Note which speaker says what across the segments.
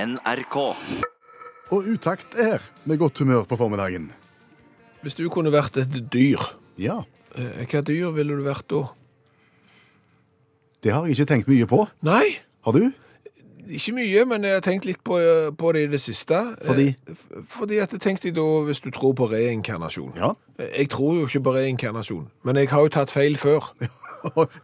Speaker 1: NRK.
Speaker 2: Og utakt er med godt humør på formiddagen.
Speaker 3: Hvis du kunne vært et dyr,
Speaker 2: Ja,
Speaker 3: eh, hva dyr ville du vært da?
Speaker 2: det har jeg ikke tenkt mye på.
Speaker 3: Nei,
Speaker 2: Har du?
Speaker 3: ikke mye, men jeg har tenkt litt på, på det i det siste.
Speaker 2: Fordi?
Speaker 3: Eh, f- Fordi at jeg tenkte da, hvis du tror på reinkarnasjon.
Speaker 2: Ja.
Speaker 3: Eh, Jeg tror jo ikke på reinkarnasjon, men jeg har jo tatt feil før.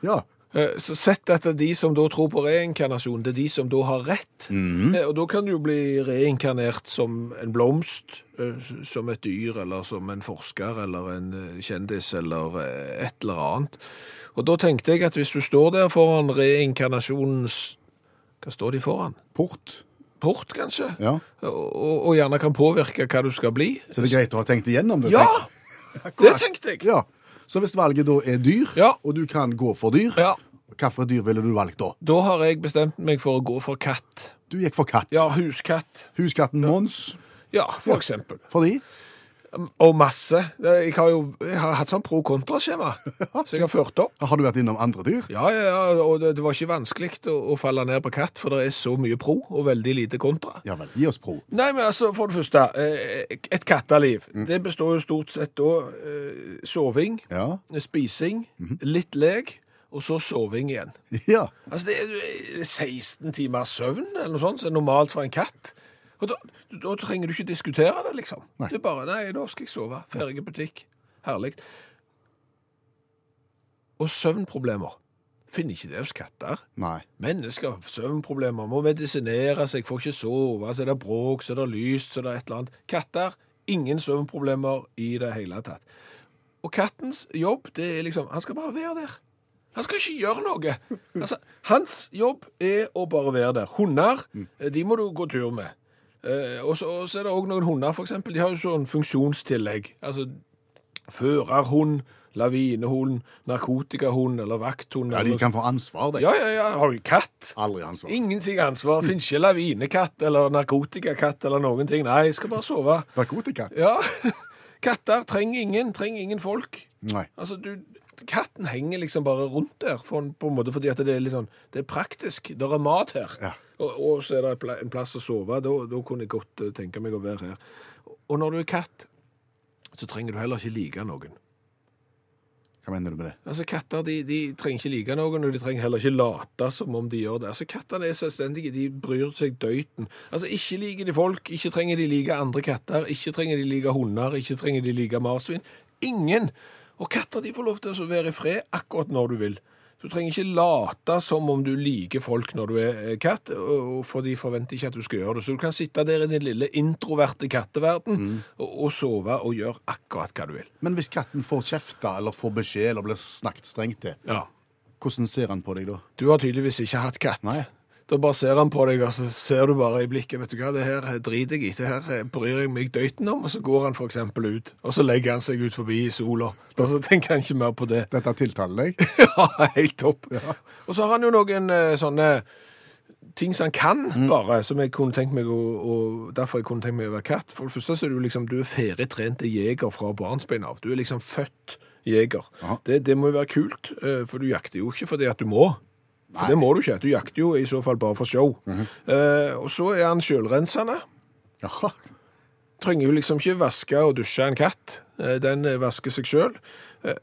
Speaker 2: ja.
Speaker 3: Eh, Så sett at det er de som da tror på reinkarnasjon, det er de som da har rett.
Speaker 2: Mhm.
Speaker 3: Eh, Og da kan du jo bli reinkarnert som en blomst, eh, s- som et dyr, eller som en forsker, eller en eh, kjendis, eller eh, et eller annet. Og da tenkte jeg at hvis du står der foran reinkarnasjonens Hva står de foran?
Speaker 2: Port.
Speaker 3: Port, kanskje?
Speaker 2: Ja.
Speaker 3: Og, og- og gjerne kan påvirke hva du skal bli.
Speaker 2: Så det er greit å ha tenkt igjennom det.
Speaker 3: Ja! Det tenkte jeg.
Speaker 2: ja. Så hvis valget da er dyr,
Speaker 3: Ja.
Speaker 2: og du kan gå for dyr,
Speaker 3: Ja.
Speaker 2: hvilket dyr ville du valgt da?
Speaker 3: Da har jeg bestemt meg for å gå for katt.
Speaker 2: Du gikk for katt.
Speaker 3: Ja, huskatt.
Speaker 2: Huskatten Mons.
Speaker 3: Ja, for eksempel.
Speaker 2: Fordi?
Speaker 3: Og masse. Jeg har jo jeg har hatt sånn pro kontra-skjema, så jeg har ført opp.
Speaker 2: Har du vært innom andre dyr?
Speaker 3: Ja, ja, ja, og det, det var ikke vanskelig å, å falle ned på katt, for det er så mye pro og veldig lite kontra.
Speaker 2: Ja vel, gi oss pro.
Speaker 3: Nei, men altså, for det første, eh, et katteliv, det består jo stort sett da eh, soving,
Speaker 2: Ja.
Speaker 3: spising, litt leg, og så soving igjen.
Speaker 2: Ja.
Speaker 3: Altså, det er jo 16 timer søvn eller noe sånt, som er normalt for en katt. Og da, da trenger du ikke diskutere det, liksom.
Speaker 2: Nei.
Speaker 3: Det er bare Nei, da skal jeg sove. Ferdig butikk. Herlig. Og søvnproblemer. Finner ikke det hos katter.
Speaker 2: Nei.
Speaker 3: Mennesker har søvnproblemer, må medisinere seg, får ikke sove, så er det bråk, så er det lyst, så er det et eller annet. Katter, ingen søvnproblemer i det hele tatt. Og kattens jobb, det er liksom, han skal bare være der. Han skal ikke gjøre noe. Altså, hans jobb er å bare være der. Hunder,
Speaker 2: Mm.
Speaker 3: eh, de må du gå tur med. Eh, og så og så er det også noen hunder, for eksempel, de har jo sånn funksjonstillegg. Altså, førerhund, lavinehund, narkotikahund eller vakthund.
Speaker 2: Ja,
Speaker 3: eller
Speaker 2: de
Speaker 3: noe
Speaker 2: kan få ansvar, de.
Speaker 3: ja, ja, ja. Har du katt?
Speaker 2: Aldri ansvar.
Speaker 3: Ingenting ansvar. Finnes ikke lavinekatt eller narkotikakatt eller noen ting. Nei, jeg skal bare sove.
Speaker 2: Narkotika?
Speaker 3: Ja, katter trenger ingen. Trenger ingen folk.
Speaker 2: Nei.
Speaker 3: Altså, du, katten henger liksom bare rundt der, for, på en måte fordi at det er litt sånn, det er praktisk, det er mat her.
Speaker 2: Ja.
Speaker 3: Og, og så er det en pla- en plass å sove, da, da kunne jeg godt eh, tenke meg å være her. Og når du er katt, så trenger du heller ikke like noen.
Speaker 2: Hva mener du med det?
Speaker 3: Altså, Katter de, de trenger ikke like noen, og de trenger heller ikke late som om de gjør det. Altså, Kattene er selvstendige, de bryr seg døyten. Altså, Ikke liker de folk, ikke trenger de like andre katter, ikke trenger de like hunder, ikke trenger de like marsvin. Ingen! Og katter de får lov til å være i fred akkurat når du vil. Du trenger ikke late som om du liker folk når du er eh, katt, og- og for de forventer ikke at du skal gjøre det. Så du kan sitte der i din lille introverte katteverden og, og sove og gjøre akkurat hva du vil.
Speaker 2: Men hvis katten får kjefta eller får beskjed eller blir snakket strengt til,
Speaker 3: Ja.
Speaker 2: hvordan ser han på deg da?
Speaker 3: Du har tydeligvis ikke hatt katt.
Speaker 2: Nei.
Speaker 3: Da bare ser han på deg, og så ser du bare i blikket. Vet du hva, det her driter jeg i. Det her bryr jeg meg døyten om. Og så går han f.eks. ut. Og så legger han seg ut forbi i sola. Og så tenker han ikke mer på det.
Speaker 2: Dette tiltaler deg?
Speaker 3: Ja, helt topp. Og så har han jo noen eh, sånne ting som han kan, bare, som jeg kunne tenkt meg å, å Derfor jeg kunne tenkt meg å være katt. For det første så er du liksom Du er ferdigtrente jeger fra barnsbein av. Du er liksom født jeger.
Speaker 2: Aha.
Speaker 3: Det, det må jo være kult, eh, for du jakter jo ikke fordi at du må. For det må du ikke. Du jakter jo i så fall bare for show. eh, og så er han sjølrensende.
Speaker 2: Jaha.
Speaker 3: Trenger jo liksom ikke vaske og dusje en katt. Eh, Den eh, vasker seg sjøl.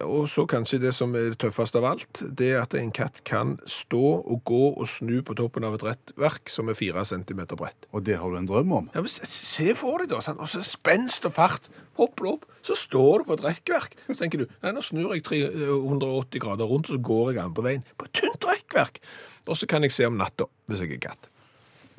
Speaker 3: Og så kanskje det som er det tøffeste av alt, det er at en katt kan stå og gå og snu på toppen av et rettverk som er fire centimeter bredt.
Speaker 2: Og det har du en drøm om?
Speaker 3: Ja, men se- Se for deg, da. sant? Og så spenst og fart. Hopper du opp, så står du på et rekkverk. Så tenker du nei, nå snur jeg 380 grader rundt, og så går jeg andre veien. På et tynt rekkverk. Og så kan jeg se om natta, hvis jeg er katt.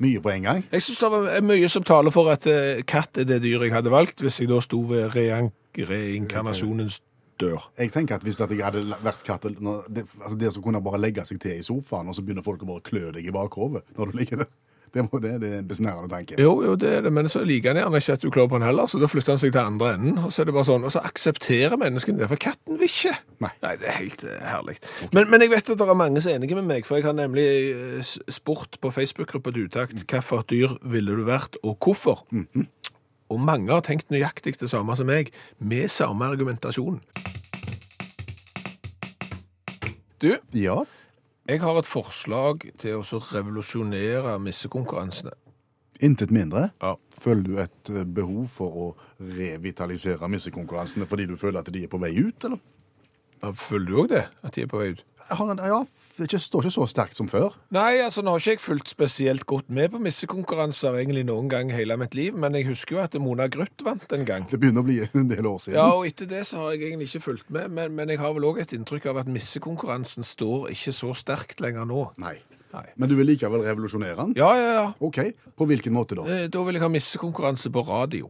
Speaker 2: Mye på en gang?
Speaker 3: Jeg syns det er mye som taler for at eh, katt er det dyret jeg hadde valgt, hvis jeg da sto ved rean- reinkarnasjonens dør.
Speaker 2: Jeg tenker at Hvis at jeg hadde vært katt og- når- det, altså det som kunne bare legge seg til i sofaen, og så begynner folk å bare klø deg i bakhodet når du ligger der det, må, det, det er en besnærende tanke.
Speaker 3: Jo, jo, det er det, men så liker han gjerne ikke at du klår på han heller, så da flytter han seg til andre enden, og så er det bare sånn, og så aksepterer menneskene det, for katten vil ikke.
Speaker 2: Nei.
Speaker 3: det er helt eh, herlig. Men, men jeg vet at det er mange som er enige med meg, for jeg har nemlig eh, s- spurt på Facebook-gruppa til utakt, hva for et dyr ville du vært, og hvorfor? Og mange har tenkt nøyaktig det samme som meg, med samme argumentasjon. Du,
Speaker 2: Ja,
Speaker 3: jeg har et forslag til å så revolusjonere missekonkurransene.
Speaker 2: Intet mindre.
Speaker 3: Ja.
Speaker 2: Føler du et eh, behov for å revitalisere missekonkurransene fordi du føler at de er på vei ut, eller?
Speaker 3: Da Føler du òg det? At de er på vei ut?
Speaker 2: Jeg har en, ja, det er ikke, står ikke så sterkt som før.
Speaker 3: Nei, altså nå har ikke jeg fulgt spesielt godt med på missekonkurranser egentlig noen gang hele mitt liv, men jeg husker jo at Mona Gruth vant en gang.
Speaker 2: Det begynner å bli en del år siden.
Speaker 3: Ja, og etter det så har jeg egentlig ikke fulgt med, men, men jeg har vel òg et inntrykk av at missekonkurransen står ikke så sterkt lenger nå.
Speaker 2: Nei.
Speaker 3: Nei.
Speaker 2: Men du vil likevel revolusjonere den?
Speaker 3: Ja, ja, ja.
Speaker 2: Ok, på hvilken måte da?
Speaker 3: Eh, Da vil jeg ha missekonkurranse på radio.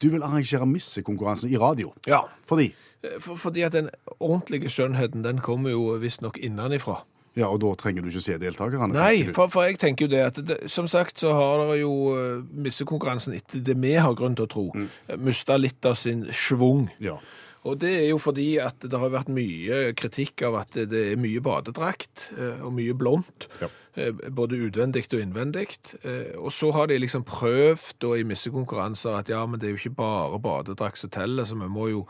Speaker 2: Du vil arrangere missekonkurranse i radio.
Speaker 3: Ja.
Speaker 2: Fordi?
Speaker 3: Eh, For, fordi at den ordentlige skjønnheten, den kommer jo visstnok innenifra.
Speaker 2: Ja, og da trenger du ikke se deltakerne.
Speaker 3: Nei,
Speaker 2: kanskje du?
Speaker 3: for, for jeg tenker jo det at det, som sagt så har dere jo eh, missekonkurransen etter det vi har grunn til å tro, eh, mista litt av sin schwung.
Speaker 2: Ja.
Speaker 3: Og det er jo fordi at det har vært mye kritikk av at det er mye badedrakt eh, og mye blondt.
Speaker 2: Ja.
Speaker 3: eh, Både utvendig og innvendig. Eh, Og så har de liksom prøvd da, i missekonkurranser at ja, men det er jo ikke bare badedrakt som teller, så vi må jo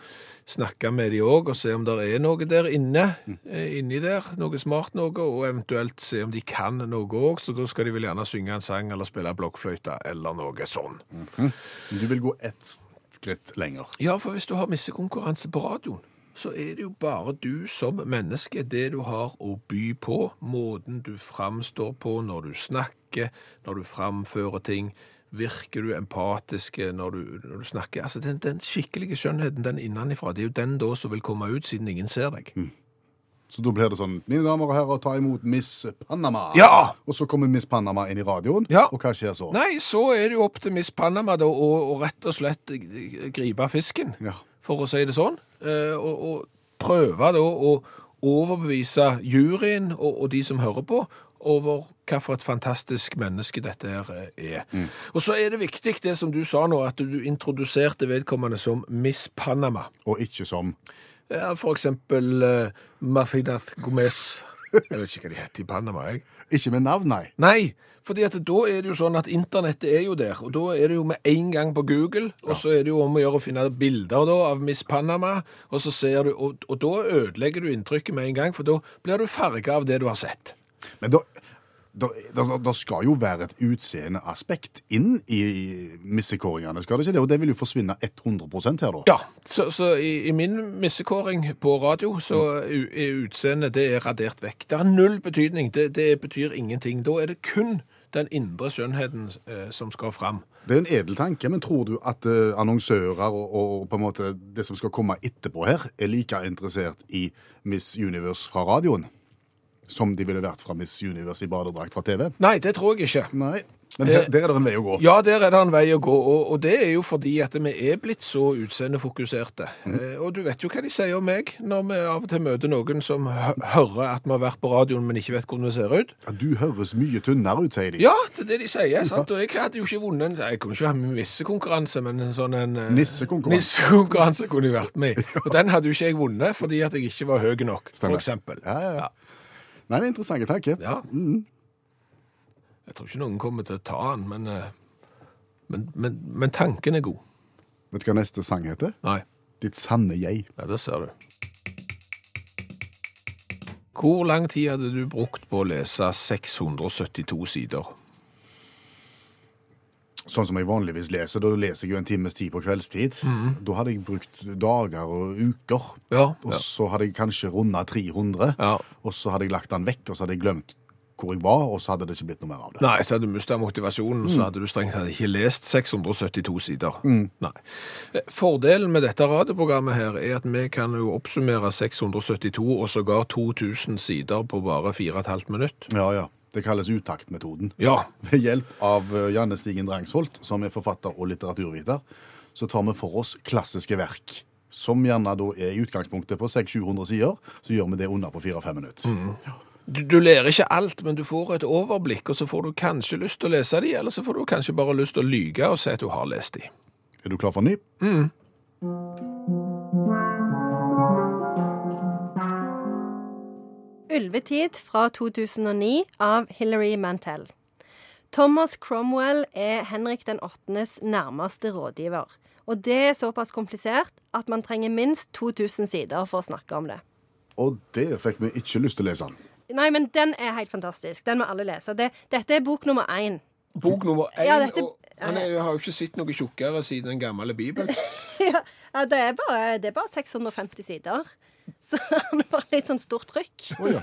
Speaker 3: snakke med de òg og se om det er noe der inne. eh, Inni der. Noe smart noe, og eventuelt se om de kan noe òg. Så da skal de vel gjerne synge en sang eller spille blokkfløyte eller noe sånn.
Speaker 2: Du vil gå ett skritt lenger.
Speaker 3: Ja, for hvis du har missekonkurranse på radioen, så er det jo bare du som menneske, det du har å by på, måten du framstår på når du snakker, når du framfører ting, virker du empatisk når du, når du snakker. Altså, den, den skikkelige skjønnheten, den innenifra, det er jo den da som vil komme ut siden ingen ser deg.
Speaker 2: Så da blir det sånn, mine damer og herrer, ta imot Miss Panama.
Speaker 3: Ja!
Speaker 2: Og så kommer Miss Panama inn i radioen,
Speaker 3: Ja.
Speaker 2: og hva skjer så?
Speaker 3: Nei, så er det jo opp til Miss Panama da, å, å rett og slett eh, gripe fisken.
Speaker 2: Ja.
Speaker 3: for å si det sånn, eh, og, og prøve da å overbevise juryen og, og de som hører på, over hva for et fantastisk menneske dette her eh, er. Og så er det viktig det som du sa nå, at du introduserte vedkommende som Miss Panama.
Speaker 2: Og ikke som,
Speaker 3: Ja, for eksempel eh, Mafinath Gomez. Jeg vet ikke hva de heter i Panama, jeg.
Speaker 2: ikke med navn, nei.
Speaker 3: Nei, fordi at da er det jo sånn at internettet er jo der, og da er det jo med en gang på Google, og så er det jo om å gjøre å finne bilder da av Miss Panama, og så ser du, og, og da ødelegger du inntrykket med en gang, for da blir du farget av det du har sett.
Speaker 2: Men da, da, da, da skal jo være et utseendeaspekt inn i missekåringene, skal det ikke det? Og det vil jo forsvinne 100 her da.
Speaker 3: Ja, så, så i, i min missekåring på radio, så u- er utseendet, det er radert vekk. Det har null betydning, det, det betyr ingenting. Da er det kun den indre skjønnheten eh, som skal fram.
Speaker 2: Det er en edel tanke, men tror du at eh, annonsører og, og på en måte det som skal komme etterpå her, er like interessert i Miss Universe fra radioen som de ville vært fra Miss Universe i badedrakt fra TV?
Speaker 3: Nei, det tror jeg ikke.
Speaker 2: Nei. Men her, der er det en vei å gå.
Speaker 3: Eh, Ja, der er det en vei å gå, og, og det er jo fordi at vi er blitt så utseendefokuserte.
Speaker 2: Mm.
Speaker 3: Eh, og du vet jo hva de sier om meg, når vi av og til møter noen som hø hører at vi har vært på radioen, men ikke vet hvordan vi ser ut.
Speaker 2: Ja, du høres mye tynnere ut, sier de.
Speaker 3: Ja, det er det de sier, sant? Og jeg hadde jo ikke vunnet, en- jeg kunne ikke ha med missekonkurranse, men en sånn en... eh,
Speaker 2: Nissekonkurranse.
Speaker 3: Nissekonkurranse kunne jeg vært med i. Og den hadde jo ikke jeg vunnet, fordi at jeg ikke var høy nok,
Speaker 2: Stemmer.
Speaker 3: for eksempel.
Speaker 2: Ja, Mm. ja, ja. Nei, det er en interessant tanke.
Speaker 3: Ja. Jeg tror ikke noen kommer til å ta den, men, eh, men, men, men tanken er god.
Speaker 2: Vet du hva neste sang heter?
Speaker 3: Nei.
Speaker 2: Ditt sanne jeg.
Speaker 3: Ja, det ser du. Hvor lang tid hadde du brukt på å lese 672 sider?
Speaker 2: Sånn som jeg vanligvis leser, da leser jeg jo en times tid på kveldstid.
Speaker 3: Mm.
Speaker 2: Da hadde jeg brukt dager og uker.
Speaker 3: Ja.
Speaker 2: Og så hadde jeg kanskje runda 300.
Speaker 3: Ja.
Speaker 2: Og så hadde jeg lagt den vekk, og så hadde jeg glemt hvor jeg var, og så hadde det ikke blitt noe mer av det.
Speaker 3: Nei, så hadde du mista motivasjonen, så hadde du strengt tatt ikke lest 672 sider. Nei. Eh, Fordelen med dette radioprogrammet her er at vi kan jo oppsummere 672 og sågar 2000 sider på bare 4,5 minutt.
Speaker 2: Ja, ja. Det kalles utaktmetoden.
Speaker 3: Ja.
Speaker 2: Ved hjelp av eh, Janne Stigen Drangsholt, som er forfatter og litteraturviter, så tar vi for oss klassiske verk, som gjerne da er i utgangspunktet på 600-700 sider. Så gjør vi det under på 4-5 minutter.
Speaker 3: Du, du lærer ikke alt, men du får et overblikk, og så får du kanskje lyst til å lese de, eller så får du kanskje bare lyst til å lyge og si at du har lest de.
Speaker 2: Er du klar for ny?
Speaker 1: Ulvetid fra 2009 av Hilary Mantel. Thomas Cromwell er Henrik den 8.s nærmeste rådgiver. Og det er såpass komplisert at man trenger minst 2000 sider for å snakke om det.
Speaker 2: Og der fikk vi ikke lyst til å lese den.
Speaker 1: Nei, men den er helt fantastisk. Den må alle lese. Det, dette er bok nummer én.
Speaker 3: Bok nummer én.
Speaker 1: Ja, dette-
Speaker 3: og han er, jo- har jo ikke sett noe tjukkere siden den gamle Bibelen.
Speaker 1: Ja, ja, det, er bare, det er bare 650 sider. Så han er bare litt sånn stort trykk.
Speaker 2: Å, ja.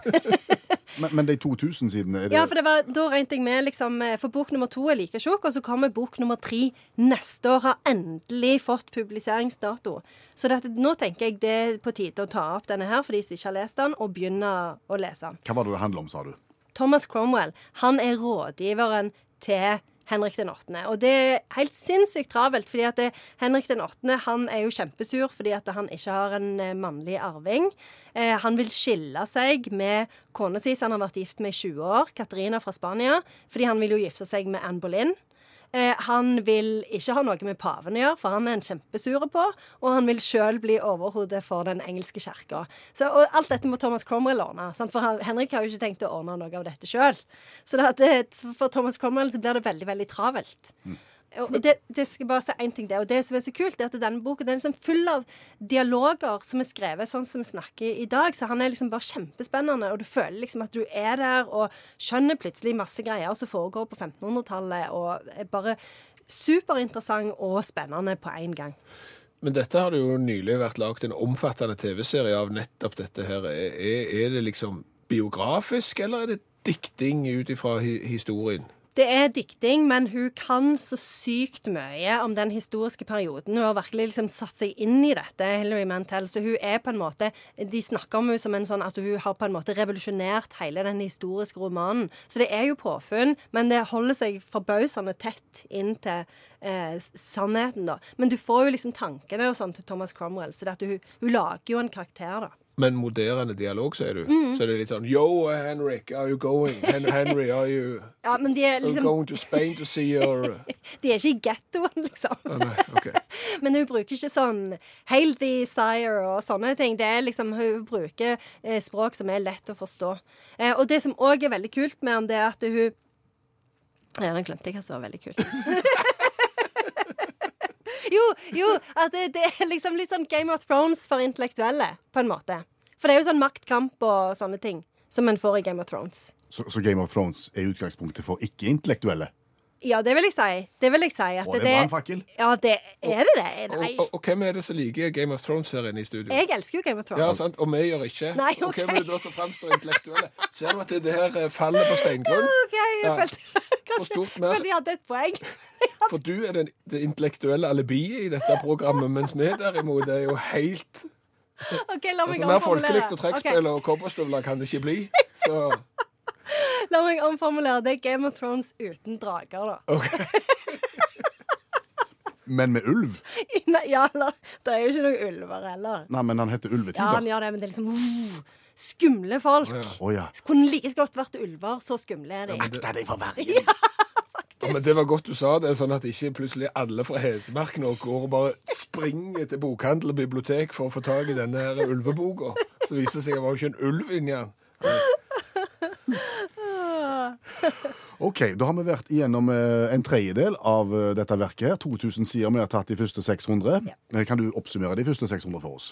Speaker 2: men, men de 2000 sidene er det
Speaker 1: Ja, for det var, Da regnet jeg med liksom, eh, For bok nummer to er like tjukk, og så kommer bok nummer tre neste år. Har endelig fått publiseringsdato. Så dette, nå tenker jeg det er på tide å ta opp denne her for de som ikke har lest den, og begynne å lese den.
Speaker 2: Hva var det det handla om, sa du?
Speaker 1: Thomas Cromwell han er rådgiveren til Henrik den 8. Og det er helt sinnssykt travelt, fordi at det, Henrik den 8. han er jo kjempesur fordi at han ikke har en eh, mannlig arving. Eh, han vil skille seg med kona si, som han har vært gift med i 20 år, Katarina fra Spania, fordi han vil jo gifte seg med Anne Boleyn. Eh, han vil ikke ha noe med paven å gjøre, for han er en kjempesure på, og han vil sjøl bli overhodet for den engelske kirka. Så- Og alt dette må Thomas Cromwell ordne, sant? for han, Henrik har jo ikke tenkt å ordne noe av dette sjøl. Så det, at det, så for Thomas Cromwell så blir det veldig, veldig travelt. Og det, det skal jeg bare si en ting der, og det som er så kult, er at denne boken den er liksom full av dialoger som er skrevet sånn som vi snakker i dag. Så han er liksom bare kjempespennende, og du føler liksom at du er der og skjønner plutselig masse greier som foregår på 1500-tallet, og er bare superinteressant og spennende på én gang.
Speaker 3: Men dette har det jo nylig vært lagd en omfattende TV-serie av nettopp dette her. Er, er- er det liksom biografisk, eller er det dikting ut ifra hi historien?
Speaker 1: Det er dikting, men hun kan så sykt mye om den historiske perioden. Hun har virkelig liksom satt seg inn i dette, Hilary Mantel. Så hun er på en måte De snakker om henne som en sånn at hun har på en måte revolusjonert hele den historiske romanen. Så det er jo påfunn, men det holder seg forbausende tett inn til eh, s- sannheten, da. Men du får jo liksom tankene og sånn til Thomas Cromwell, så det at hun, hun lager jo en karakter, da.
Speaker 3: Men moderne dialog, sier du.
Speaker 1: Mhm.
Speaker 3: Så det er litt sånn Yo, Henrik, are you going? Hen Henry, are you,
Speaker 1: Ja, men de er
Speaker 3: are you
Speaker 1: liksom
Speaker 3: going to Spain to see your
Speaker 1: De er ikke i gettoen, liksom.
Speaker 3: Å, Nei, OK.
Speaker 1: Men hun bruker ikke sånn 'hail thee, sire' og sånne ting. Det er liksom, Hun bruker eh, språk som er lett å forstå. Eh, og det som òg er veldig kult med han, det er at hun Ja, nå glemte jeg hva som var veldig kult. jo, jo, at det, det er liksom litt sånn Game of Thrones for intellektuelle, på en måte. For det er jo sånn maktkamp og sånne ting som en får i Game of Thrones.
Speaker 2: Så, så Game of Thrones er utgangspunktet for ikke-intellektuelle?
Speaker 1: Ja, det vil jeg si. Det vil jeg si. At
Speaker 2: Og det er brannfakkel?
Speaker 1: Ja, det er det det. Nei.
Speaker 3: Og, og, og hvem er det som liker Game of Thrones-serien i studio?
Speaker 1: Jeg elsker jo Game of Thrones.
Speaker 3: Ja, sant? Og vi gjør ikke.
Speaker 1: Nei,
Speaker 3: Og
Speaker 1: ok.
Speaker 3: hvem er det da som framstår intellektuelle? Ser du at det her eh, faller på steingrunn?
Speaker 1: OK, jeg
Speaker 3: Ja.
Speaker 1: følte
Speaker 3: Og stort
Speaker 1: Jeg
Speaker 3: mer.
Speaker 1: følte jeg hadde et poeng.
Speaker 3: For du er den, det intellektuelle alibiet i dette programmet, mens vi derimot er jo helt
Speaker 1: Ok, La meg
Speaker 3: altså, Mer folkelig
Speaker 1: omformulere.
Speaker 3: og trekkspill
Speaker 1: Ok,
Speaker 3: og cowboystøvler kan det ikke bli. Så
Speaker 1: la meg omformulere. Det er Game of Thrones uten drager, da.
Speaker 3: OK.
Speaker 2: Men med ulv?
Speaker 1: Nei, ja, eller, det er jo ikke noen ulver heller.
Speaker 2: Nei, men han heter
Speaker 1: Ja, han
Speaker 2: Ulvetiger. Å
Speaker 1: gjør det, men det er liksom uh, Skumle folk.
Speaker 3: Ja.
Speaker 2: ja.
Speaker 1: Kunne like så godt vært ulver. Så skumle er de.
Speaker 2: Akta deg for vergen!
Speaker 3: Ja, men det var godt du sa det, sånn at ikke plutselig alle fra Hedmark nå går og bare springer til bokhandel og bibliotek for å få tak i denne her ulveboka. Så viser det seg at det var jo ikke en ulv inni den.
Speaker 2: OK, da har vi vært igjennom eh, en tredjedel av eh, dette verket. her. 2000 sider vi har tatt de første 600. Eh, Kan du oppsummere de første 600 for oss?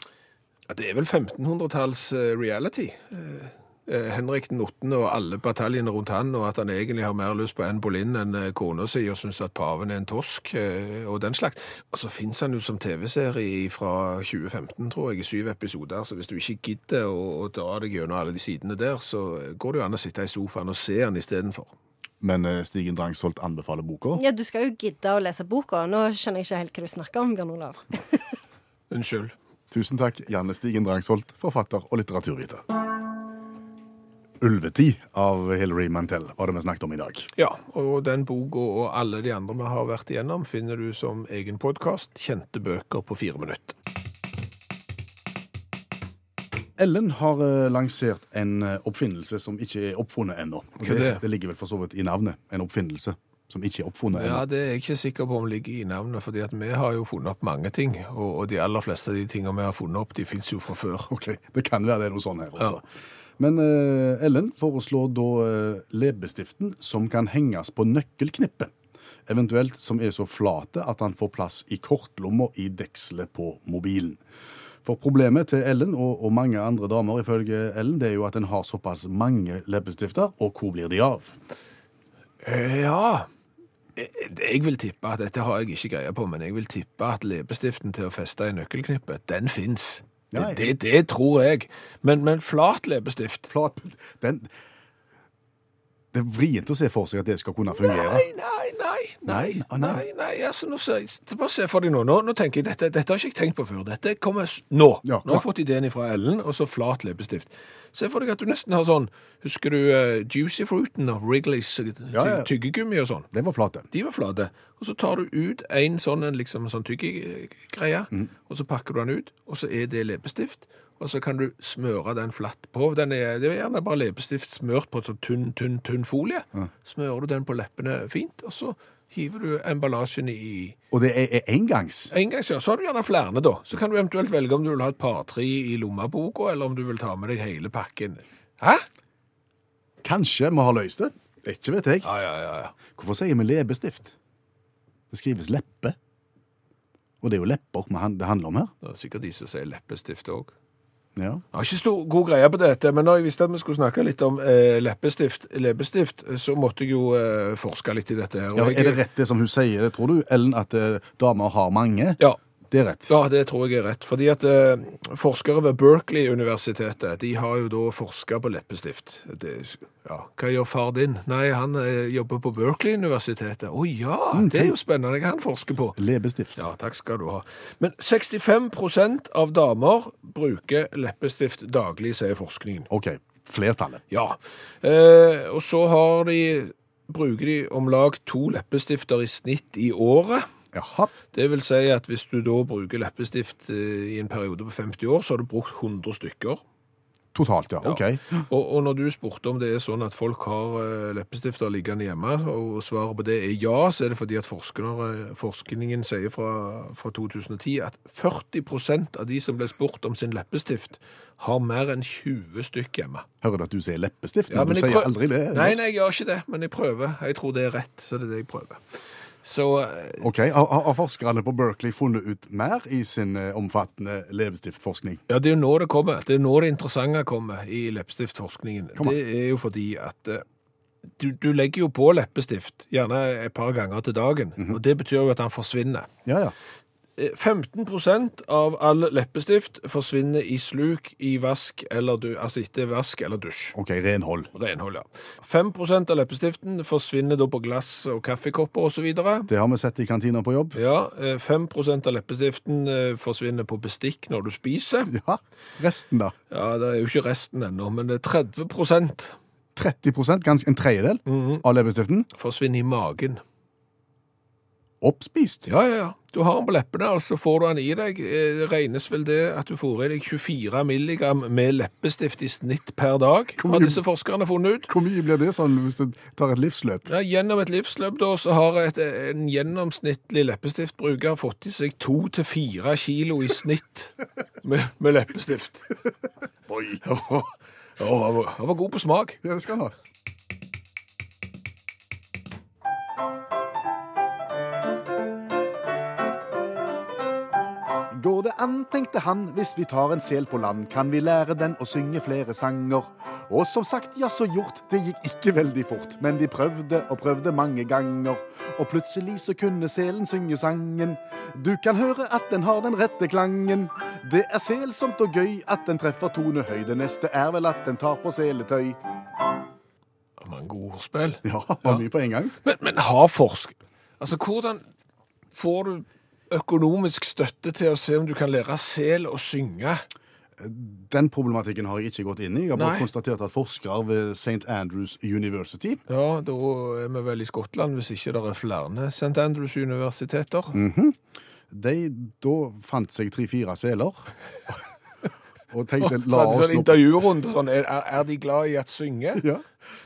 Speaker 3: Ja, det er vel 1500-talls eh, reality. Eh, Henrik den 8. og alle bataljene rundt han, og at han egentlig har mer lyst på Anne Boleyn enn eh, kona si, og syns at paven er en tosk, eh, og den slags. Og så fins han jo som TV-serie fra 2015, tror jeg, i syv episoder, så hvis du ikke gidder å, å dra deg gjennom alle de sidene der, så går det jo an å sitte i sofaen og se han istedenfor.
Speaker 2: Men eh, Stigen Drangsholt anbefaler boka.
Speaker 1: Ja, Du skal jo gidde å lese boka. Nå skjønner jeg ikke helt hva du snakker om, Bjørn Olav.
Speaker 3: Unnskyld.
Speaker 2: Tusen takk, Janne Stigen Drangsholt, forfatter og litteraturviter. Ulvetid av Hilary Mantel var det vi snakket om i dag.
Speaker 3: Ja, og den boka og alle de andre vi har vært igjennom, finner du som egen podkast, Kjente bøker på fire minutter.
Speaker 2: Ellen har eh, lansert en eh, oppfinnelse som ikke er oppfunnet ennå. Og
Speaker 3: Hva er det?
Speaker 2: det ligger vel for så vidt i navnet. En oppfinnelse som ikke er oppfunnet
Speaker 3: Ja,
Speaker 2: ennå.
Speaker 3: det er jeg ikke sikker på om ligger i navnet, fordi at vi har jo funnet opp mange ting, og, og de aller fleste av de tingene vi har funnet opp, de finnes jo fra før.
Speaker 2: Ok, Det kan være det er noe sånn her også. Men eh, Ellen foreslår da eh, leppestiften som kan henges på nøkkelknippet. Eventuelt som er så flate at han får plass i kortlomma i dekselet på mobilen. For problemet til Ellen og, og mange andre damer ifølge Ellen, det er jo at en har såpass mange leppestifter, og hvor blir de av?
Speaker 3: Eh, Ja, Jeg vil tippe at dette har jeg ikke greie på, men jeg vil tippe at leppestiften til å feste i nøkkelknippet, den fins. Det,
Speaker 2: Ja,
Speaker 3: det, det tror jeg. Men, men flat leppestift
Speaker 2: Flat den, Det er vrient å se for seg at det skal kunne fungere.
Speaker 3: Nei, nei, nei. Nei,
Speaker 2: Nei, å, nei.
Speaker 3: nei, nei, altså, nå ser jeg, Bare se for deg nå. Nå, nå tenker jeg, dette, dette har ikke jeg tenkt på før. Dette kommer s- nå.
Speaker 2: Ja,
Speaker 3: nå har
Speaker 2: klar.
Speaker 3: jeg fått ideen fra Ellen, og så flat leppestift. Se for deg at du nesten har sånn Husker du eh, Juicy Fruiten og Wrigleys eh, ty-
Speaker 2: Ja, ja.
Speaker 3: tyggegummi og sånn?
Speaker 2: Den var flat, den.
Speaker 3: De var flate. Og så tar du ut en sånn, en liksom, sånn tyggegreie, og så pakker du den ut, og så er det leppestift. Og så kan du smøre den flatt på. Den er, det er gjerne bare leppestift smørt på et sånn tynn, tynn, tynn folie. Smører du den på leppene fint, og så hiver du emballasjen i
Speaker 2: Og det er, er engangs.
Speaker 3: engangs. Ja, så har du gjerne flere, da. Så kan du eventuelt velge om du vil ha et par-tre i lommeboka, eller om du vil ta med deg hele pakken. Hæ?
Speaker 2: Kanskje vi har løst det? Ikke vet jeg.
Speaker 3: Ja, ja, ja. ja.
Speaker 2: Hvorfor sier vi leppestift? Det skrives leppe. Og det er jo lepper vi han- det handler om her.
Speaker 3: Det er sikkert de som sier leppestift òg.
Speaker 2: Ja.
Speaker 3: Jeg har ikke stor, god greie på dette, men når jeg visste at vi skulle snakke litt om eh, leppestift, leppestift, så måtte jeg jo eh, forske litt i dette her. og
Speaker 2: Ja,
Speaker 3: jeg-
Speaker 2: er det rett det som hun sier, tror du, Ellen, at eh, damer har mange?
Speaker 3: Ja,
Speaker 2: Det er rett.
Speaker 3: ja, det tror jeg er rett. Fordi at eh, forskere ved Berkeley-universitetet, de har jo da forska på leppestift. Det, ja, hva gjør far din? Nei, han eh, jobber på Berkeley-universitetet. Å ja,
Speaker 2: Mm,
Speaker 3: det er jo spennende hva han forsker på.
Speaker 2: Leppestift.
Speaker 3: Ja, takk skal du ha. Men 65 av damer bruker leppestift daglig, sier forskningen.
Speaker 2: OK. Flertallet.
Speaker 3: Ja. Eh, og så har de, bruker de om lag to leppestifter i snitt i året.
Speaker 2: Jaha.
Speaker 3: Det vil si at hvis du da bruker leppestift eh, i en periode på 50 år, så har du brukt 100 stykker.
Speaker 2: Totalt, ja.
Speaker 3: Ja.
Speaker 2: OK.
Speaker 3: Og, og når du spurte om det er sånn at folk har eh, leppestifter liggende hjemme, og svaret på det er ja, så er det fordi at forskere, forskningen sier fra, fra 2010 at 40 av de som ble spurt om sin leppestift, har mer enn 20 stykk hjemme.
Speaker 2: Hører du at du sier leppestift?
Speaker 3: Ja,
Speaker 2: men du
Speaker 3: jeg
Speaker 2: sier
Speaker 3: prøv-
Speaker 2: aldri det.
Speaker 3: Nei,
Speaker 2: Lars.
Speaker 3: nei, jeg gjør ikke det, men jeg prøver. Jeg tror det er rett, så det er det jeg prøver. Så eh,
Speaker 2: Ok, Har, har- har forskerne på Berkeley funnet ut mer i sin eh, omfattende leppestiftforskning?
Speaker 3: Ja, det er jo nå det kommer. Det er nå det interessante kommer i leppestiftforskningen.
Speaker 2: Kom an.
Speaker 3: Det er jo fordi at eh, du, du legger jo på leppestift gjerne et par ganger til dagen,
Speaker 2: Mhm.
Speaker 3: og det betyr jo at den forsvinner.
Speaker 2: Ja, ja.
Speaker 3: Eh, 15 av all leppestift forsvinner i sluk, i vask eller du, altså etter vask eller dusj.
Speaker 2: OK, renhold.
Speaker 3: Og Renhold, ja. 5 av leppestiften forsvinner da på glass og kaffekopper osv.
Speaker 2: Det har vi sett i kantina på jobb.
Speaker 3: Ja, eh, 5 av leppestiften eh, forsvinner på bestikk når du spiser.
Speaker 2: Ja. Resten, da?
Speaker 3: Ja, det er jo ikke resten ennå, men det er 30
Speaker 2: 30 ganske en tredjedel av leppestiften.
Speaker 3: forsvinner i magen.
Speaker 2: Oppspist.
Speaker 3: Ja, ja, ja. Du har den på leppene, og så får du den i deg. Eh, Det regnes vel det at du får i deg 24 milligram med leppestift i snitt per dag,
Speaker 2: mye-
Speaker 3: har disse forskerne funnet ut.
Speaker 2: Hvor mye blir det sånn hvis du tar et livsløp?
Speaker 3: Ja, gjennom et livsløp da, så har et, en gjennomsnittlig leppestiftbruker fått i seg 2-4 kilo i snitt med, med leppestift.
Speaker 2: Oi.
Speaker 3: Ja, han var, han var god på smak.
Speaker 2: Ja, det skal han ha. Går det an, tenkte han, hvis vi tar en sel på land, kan vi lære den å synge flere sanger. Og som sagt, ja, så gjort, det gikk ikke veldig fort, men de prøvde og prøvde mange ganger. Og plutselig så kunne selen synge sangen. Du kan høre at den har den rette klangen. Det er selsomt og gøy at den treffer tone høy. Det neste er vel at den tar på seletøy.
Speaker 3: Det var en god ordspill.
Speaker 2: Ja, var mye på en gang.
Speaker 3: Men, men har forsk... Altså, hvordan får du økonomisk støtte til å se om du kan lære sel å synge?
Speaker 2: Den problematikken har jeg ikke gått inn i. Jeg har bare
Speaker 3: Nei.
Speaker 2: konstatert at forskere ved St. Andrews University
Speaker 3: Ja, da er vi vel i Skottland, hvis ikke det er flere St. Andrews universiteter.
Speaker 2: Mm. de da fant seg tre-fire seler og tenkte
Speaker 3: Så
Speaker 2: la
Speaker 3: hadde
Speaker 2: oss
Speaker 3: sånn
Speaker 2: nå
Speaker 3: intervjurunde sånn, er, er- er de glad i at synge?
Speaker 2: ja.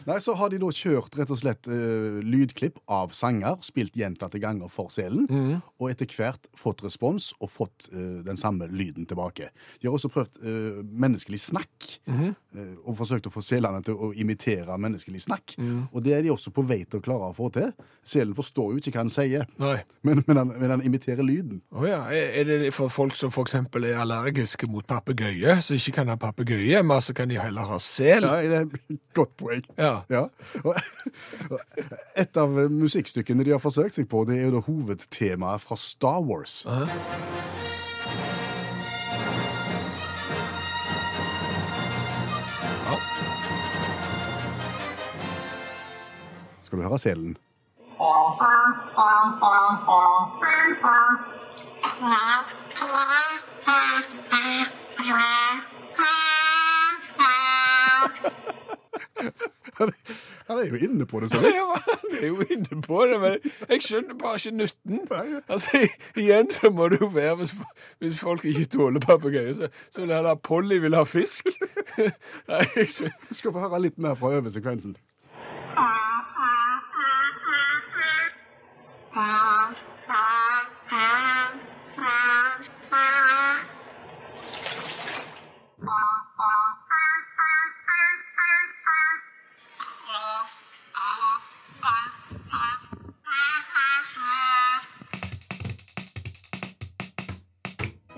Speaker 2: Nei, Så har de da kjørt rett og slett eh, lydklipp av sanger, spilt gjentatte ganger for selen, og etter hvert fått respons og fått eh, den samme lyden tilbake. De har også prøvd eh, menneskelig snakk, eh, og forsøkt å få selene til å imitere menneskelig snakk. Og det er de også på vei til å klare å få til. Selen forstår jo ikke hva han sier,
Speaker 3: Nei.
Speaker 2: men, men, han, men han imiterer lyden.
Speaker 3: Å ja, er er det for folk som for eksempel er allergiske mot papegøye, som ikke kan ha papegøye hjemme, så kan de heller ha sel?
Speaker 2: Nei, det er et godt poeng.
Speaker 3: Ja.
Speaker 2: Ja. Og- og Et av musikkstykkene de har forsøkt seg på, det er jo da hovedtemaet fra Star Wars.
Speaker 3: ja.
Speaker 2: Skal du høre selen? Han er jo inne på det så vidt.
Speaker 3: Ja, Han er jo inne på det, men jeg skjønner bare ikke nytten.
Speaker 2: Nei.
Speaker 3: Altså, i- Igjen så må det jo være hvis, hvis folk ikke tåler papegøyer, så, så vil heller Polly vil ha fisk. Nei, jeg skjønner.
Speaker 2: Du skal få høre litt mer fra øvesekvensen.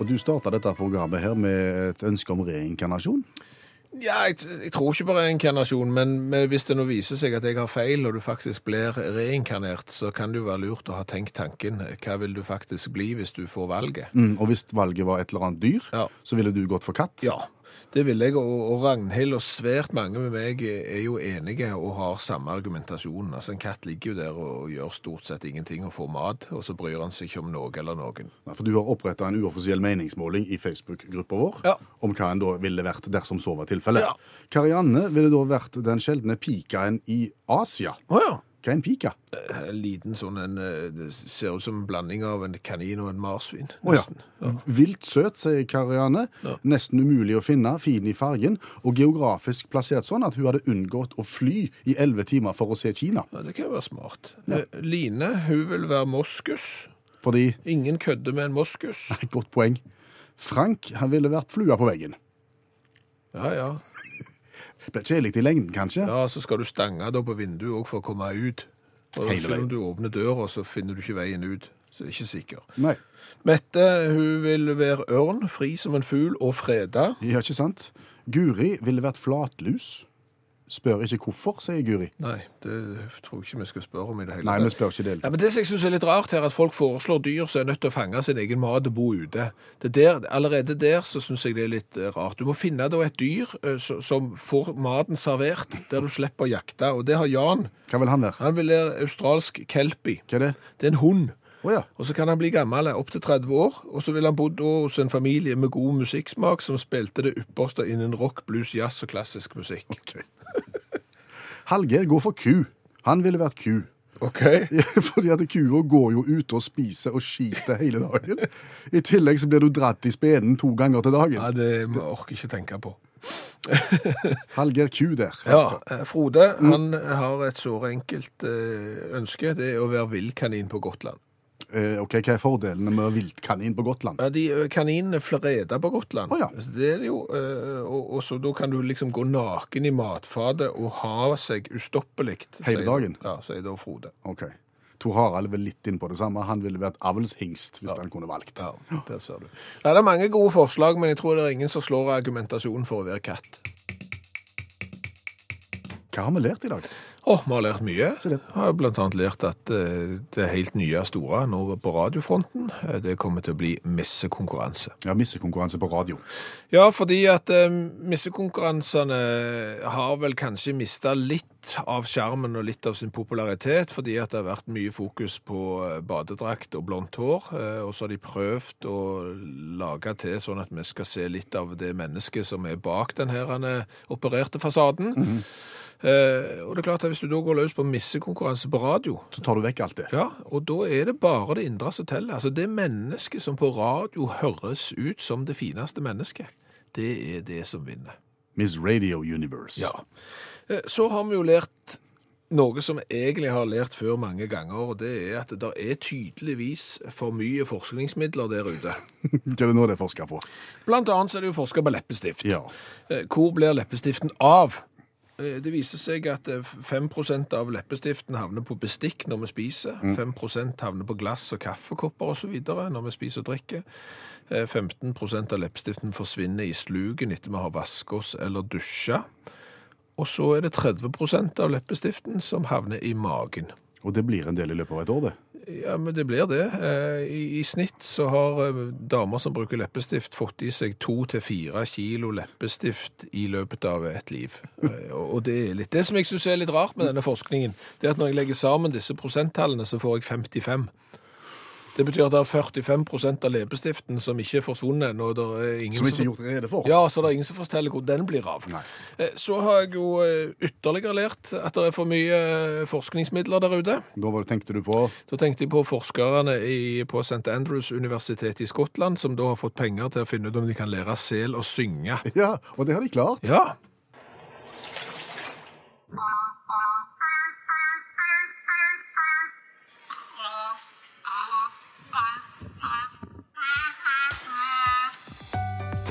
Speaker 2: Og du starta dette programmet her med et ønske om reinkarnasjon.
Speaker 3: Ja, jeg, jeg tror ikke på reinkarnasjon, men, men hvis det nå viser seg at jeg har feil, og du faktisk blir reinkarnert, så kan det jo være lurt å ha tenkt tanken. Hva vil du faktisk bli hvis du får valget?
Speaker 2: Mm, og hvis valget var et eller annet dyr,
Speaker 3: Ja.
Speaker 2: så ville du gått for katt.
Speaker 3: Ja, det vil jeg, og, og Ragnhild og svært mange med meg er jo enige og har samme argumentasjon. Altså, en katt ligger jo der og, og gjør stort sett ingenting og får mat, og så bryr han seg ikke om noe eller noen.
Speaker 2: Nei, For du har oppretta en uoffisiell meningsmåling i Facebook-gruppa vår
Speaker 3: Ja.
Speaker 2: om hva en da ville vært dersom så var tilfellet.
Speaker 3: Ja.
Speaker 2: Karianne ville da vært den sjeldne pikaen i Asia.
Speaker 3: Åja.
Speaker 2: Hva er en pika?
Speaker 3: En liten sånn, en, eh, det ser ut som en blanding av en kanin og en marsvin.
Speaker 2: Å ja.
Speaker 3: nesten.
Speaker 2: Vilt søt, sier Karianne.
Speaker 3: Ja.
Speaker 2: Nesten umulig å finne, fin i fargen, og geografisk plassert sånn at hun hadde unngått å fly i elleve timer for å se Kina.
Speaker 3: Ja, det kan jo være smart. Eh, Line, hun vil være moskus.
Speaker 2: Fordi
Speaker 3: Ingen kødder med en moskus.
Speaker 2: Et godt poeng. Frank han ville vært flua på veggen.
Speaker 3: Ja, ja.
Speaker 2: Det ble Kjedelig i lengden, kanskje.
Speaker 3: Ja, så skal du stange da på vinduet òg for å komme ut. Og
Speaker 2: Hele
Speaker 3: selv
Speaker 2: veien.
Speaker 3: om du åpner døra, så finner du ikke veien ut. Så det er ikke sikker.
Speaker 2: Nei,
Speaker 3: Mette, hun vil være ørn, fri som en fugl og freda.
Speaker 2: ja, ikke sant? Guri ville vært flatlus. Spør ikke hvorfor, sier Guri.
Speaker 3: Nei, det tror jeg ikke vi skal spørre om i det hele
Speaker 2: Nei, vi spør ikke det.
Speaker 3: Ja, men Det som jeg synes er litt rart, her, at folk foreslår dyr som er nødt til å fange sin egen mat og bo ute. Det der, allerede der så synes jeg det er litt eh, rart. Du må finne da et dyr eh, så- som får maten servert, der du slipper å jakte. Og det har Jan.
Speaker 2: Hva vil han være?
Speaker 3: Han vil være australsk kelpi.
Speaker 2: Hva er det?
Speaker 3: Det er en hund.
Speaker 2: Å ja.
Speaker 3: Og så kan han bli gammel, opptil 30 år, og så vil han bo da hos en familie med god musikksmak som spilte det ypperste innen rock, blues, jazz og klassisk musikk.
Speaker 2: Hallgeir går for ku. Han ville vært ku.
Speaker 3: Ok.
Speaker 2: Fordi at kua går jo ute og spiser og skiter hele dagen. I tillegg så blir du dratt i spenen to ganger til
Speaker 3: Ja,
Speaker 2: dagen.
Speaker 3: det må jeg orker ikke tenke på.
Speaker 2: Hallgeir ku der,
Speaker 3: Ja,
Speaker 2: altså.
Speaker 3: eh, Frode han har et såre enkelt eh, ønske. Det er å være villkanin på Gotland.
Speaker 2: Eh, ok, Hva er fordelene med viltkanin på Gotland?
Speaker 3: Ja, de eh, kaninene freda på Gotland.
Speaker 2: Å, ja.
Speaker 3: Altså, Det er det jo. eh, Og, og så da kan du liksom gå naken i matfatet og ha seg ustoppelig.
Speaker 2: Hele
Speaker 3: sier-
Speaker 2: dagen?
Speaker 3: Ja, sier da Frode.
Speaker 2: Ok. Tor Harald vil litt inn på det samme. Han ville vært avlshingst hvis han kunne valgt.
Speaker 3: Ja, der ser du. Nei, det er mange gode forslag, men jeg tror det er ingen som slår argumentasjonen for å være katt.
Speaker 2: Hva har vi lært i dag?
Speaker 3: Å, vi har lært mye.
Speaker 2: Se det.
Speaker 3: Jeg har blant annet lært at eh, det helt nye store nå på radiofronten, eh, det kommer til å bli messekonkurranse.
Speaker 2: Ja, Missekonkurranse på radio.
Speaker 3: Ja, fordi at eh, missekonkurransene har vel kanskje mista litt av skjermen og litt av sin popularitet, fordi at det har vært mye fokus på eh, badedrakt og blondt hår. eh, og så har de prøvd å lage til sånn at vi skal se litt av det mennesket som er bak den her eh, opererte fasaden. Eh, og det er klart at hvis du da går løs på missekonkurranse på radio,
Speaker 2: Så tar du vekk alt det.
Speaker 3: ja, og da er det bare det indre som teller. Altså det mennesket som på radio høres ut som det fineste mennesket, det er det som vinner.
Speaker 2: Miss Radio Universe.
Speaker 3: Eh, Så har vi jo lært noe som jeg egentlig har lært før mange ganger, og det er at det der er tydeligvis for mye forskningsmidler der ute.
Speaker 2: Hva er det nå det er forska på?
Speaker 3: Blant annet så er det jo forska på leppestift.
Speaker 2: Ja.
Speaker 3: Eh, Hvor blir leppestiften av? Eh, Det viser seg at eh, 5 av leppestiften havner på bestikk når vi spiser. 5 havner på glass og kaffekopper osv. når vi spiser og drikker. Eh, 15 av leppestiften forsvinner i sluken etter vi har vasket oss eller dusja. Og så er det 30 av leppestiften som havner i magen.
Speaker 2: Og det blir en del i løpet av et år, det.
Speaker 3: Ja, men det blir det. Eh, I, i snitt så har eh, damer som bruker leppestift fått i seg to til fire kilo leppestift i løpet av et liv. Eh, og og det er litt det som jeg synes er litt rart med denne forskningen, det er at når jeg legger sammen disse prosenttallene, så får jeg 55. Det betyr at det er 45 prosent av leppestiften som ikke er forsvunnet ennå. og det er ingen
Speaker 2: Som ikke er gjort rede for.
Speaker 3: Ja, så det er ingen som forteller hvor den blir av.
Speaker 2: Nei.
Speaker 3: Eh, Så har jeg jo eh, ytterligere lært at det er for mye eh, forskningsmidler der ute.
Speaker 2: Da var det, tenkte du på
Speaker 3: Da tenkte jeg på forskerne i, på St. Andrews universitet i Skottland, som da har fått penger til å finne ut om de kan lære sel å synge.
Speaker 2: Ja, og det har de klart.
Speaker 3: Ja,